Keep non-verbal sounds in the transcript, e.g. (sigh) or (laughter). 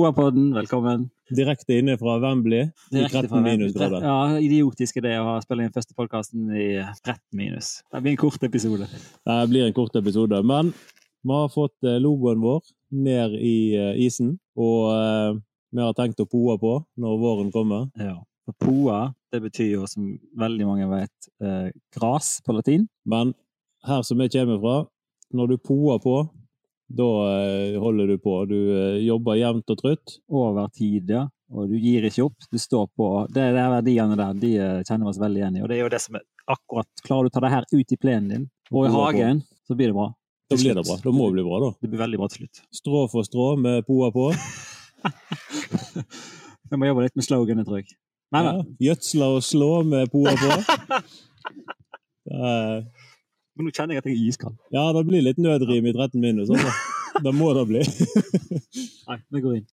Poapodden, velkommen. Direkte inne fra Wembley i 13 minusgrader. Ja, idiotisk idé å ha spille inn første podkasten i 13 minus. Det blir en kort episode. Det blir en kort episode, men vi har fått eh, logoen vår ned i eh, isen, og eh, vi har tenkt å poe på når våren kommer. Ja. Og Poa, det betyr jo, som veldig mange vet, eh, gras på latin. Men her som jeg kommer fra, når du poer på, da eh, holder du på. Du eh, jobber jevnt og trutt. Over tid, ja. Og du gir ikke opp, du står på. Det er de verdiene der, de eh, kjenner vi oss veldig igjen i. Og det er jo det som er akkurat Klarer du å ta det her ut i plenen din, og i Poa på. hagen, så blir det bra. Da blir det bra. Da må det bli bra, da. Det blir veldig bra til slutt. Strå for strå med poer på. Jeg må jobbe litt med sloganet, tror jeg. Nei, Ja. nei. Gjødsla og slå med poer på. (laughs) Eh, Men nå kjenner jeg at jeg er iskald. sånn, Ja, det blir litt nødrim i 13 minus. Altså. Det må det bli. Nei, vi går inn.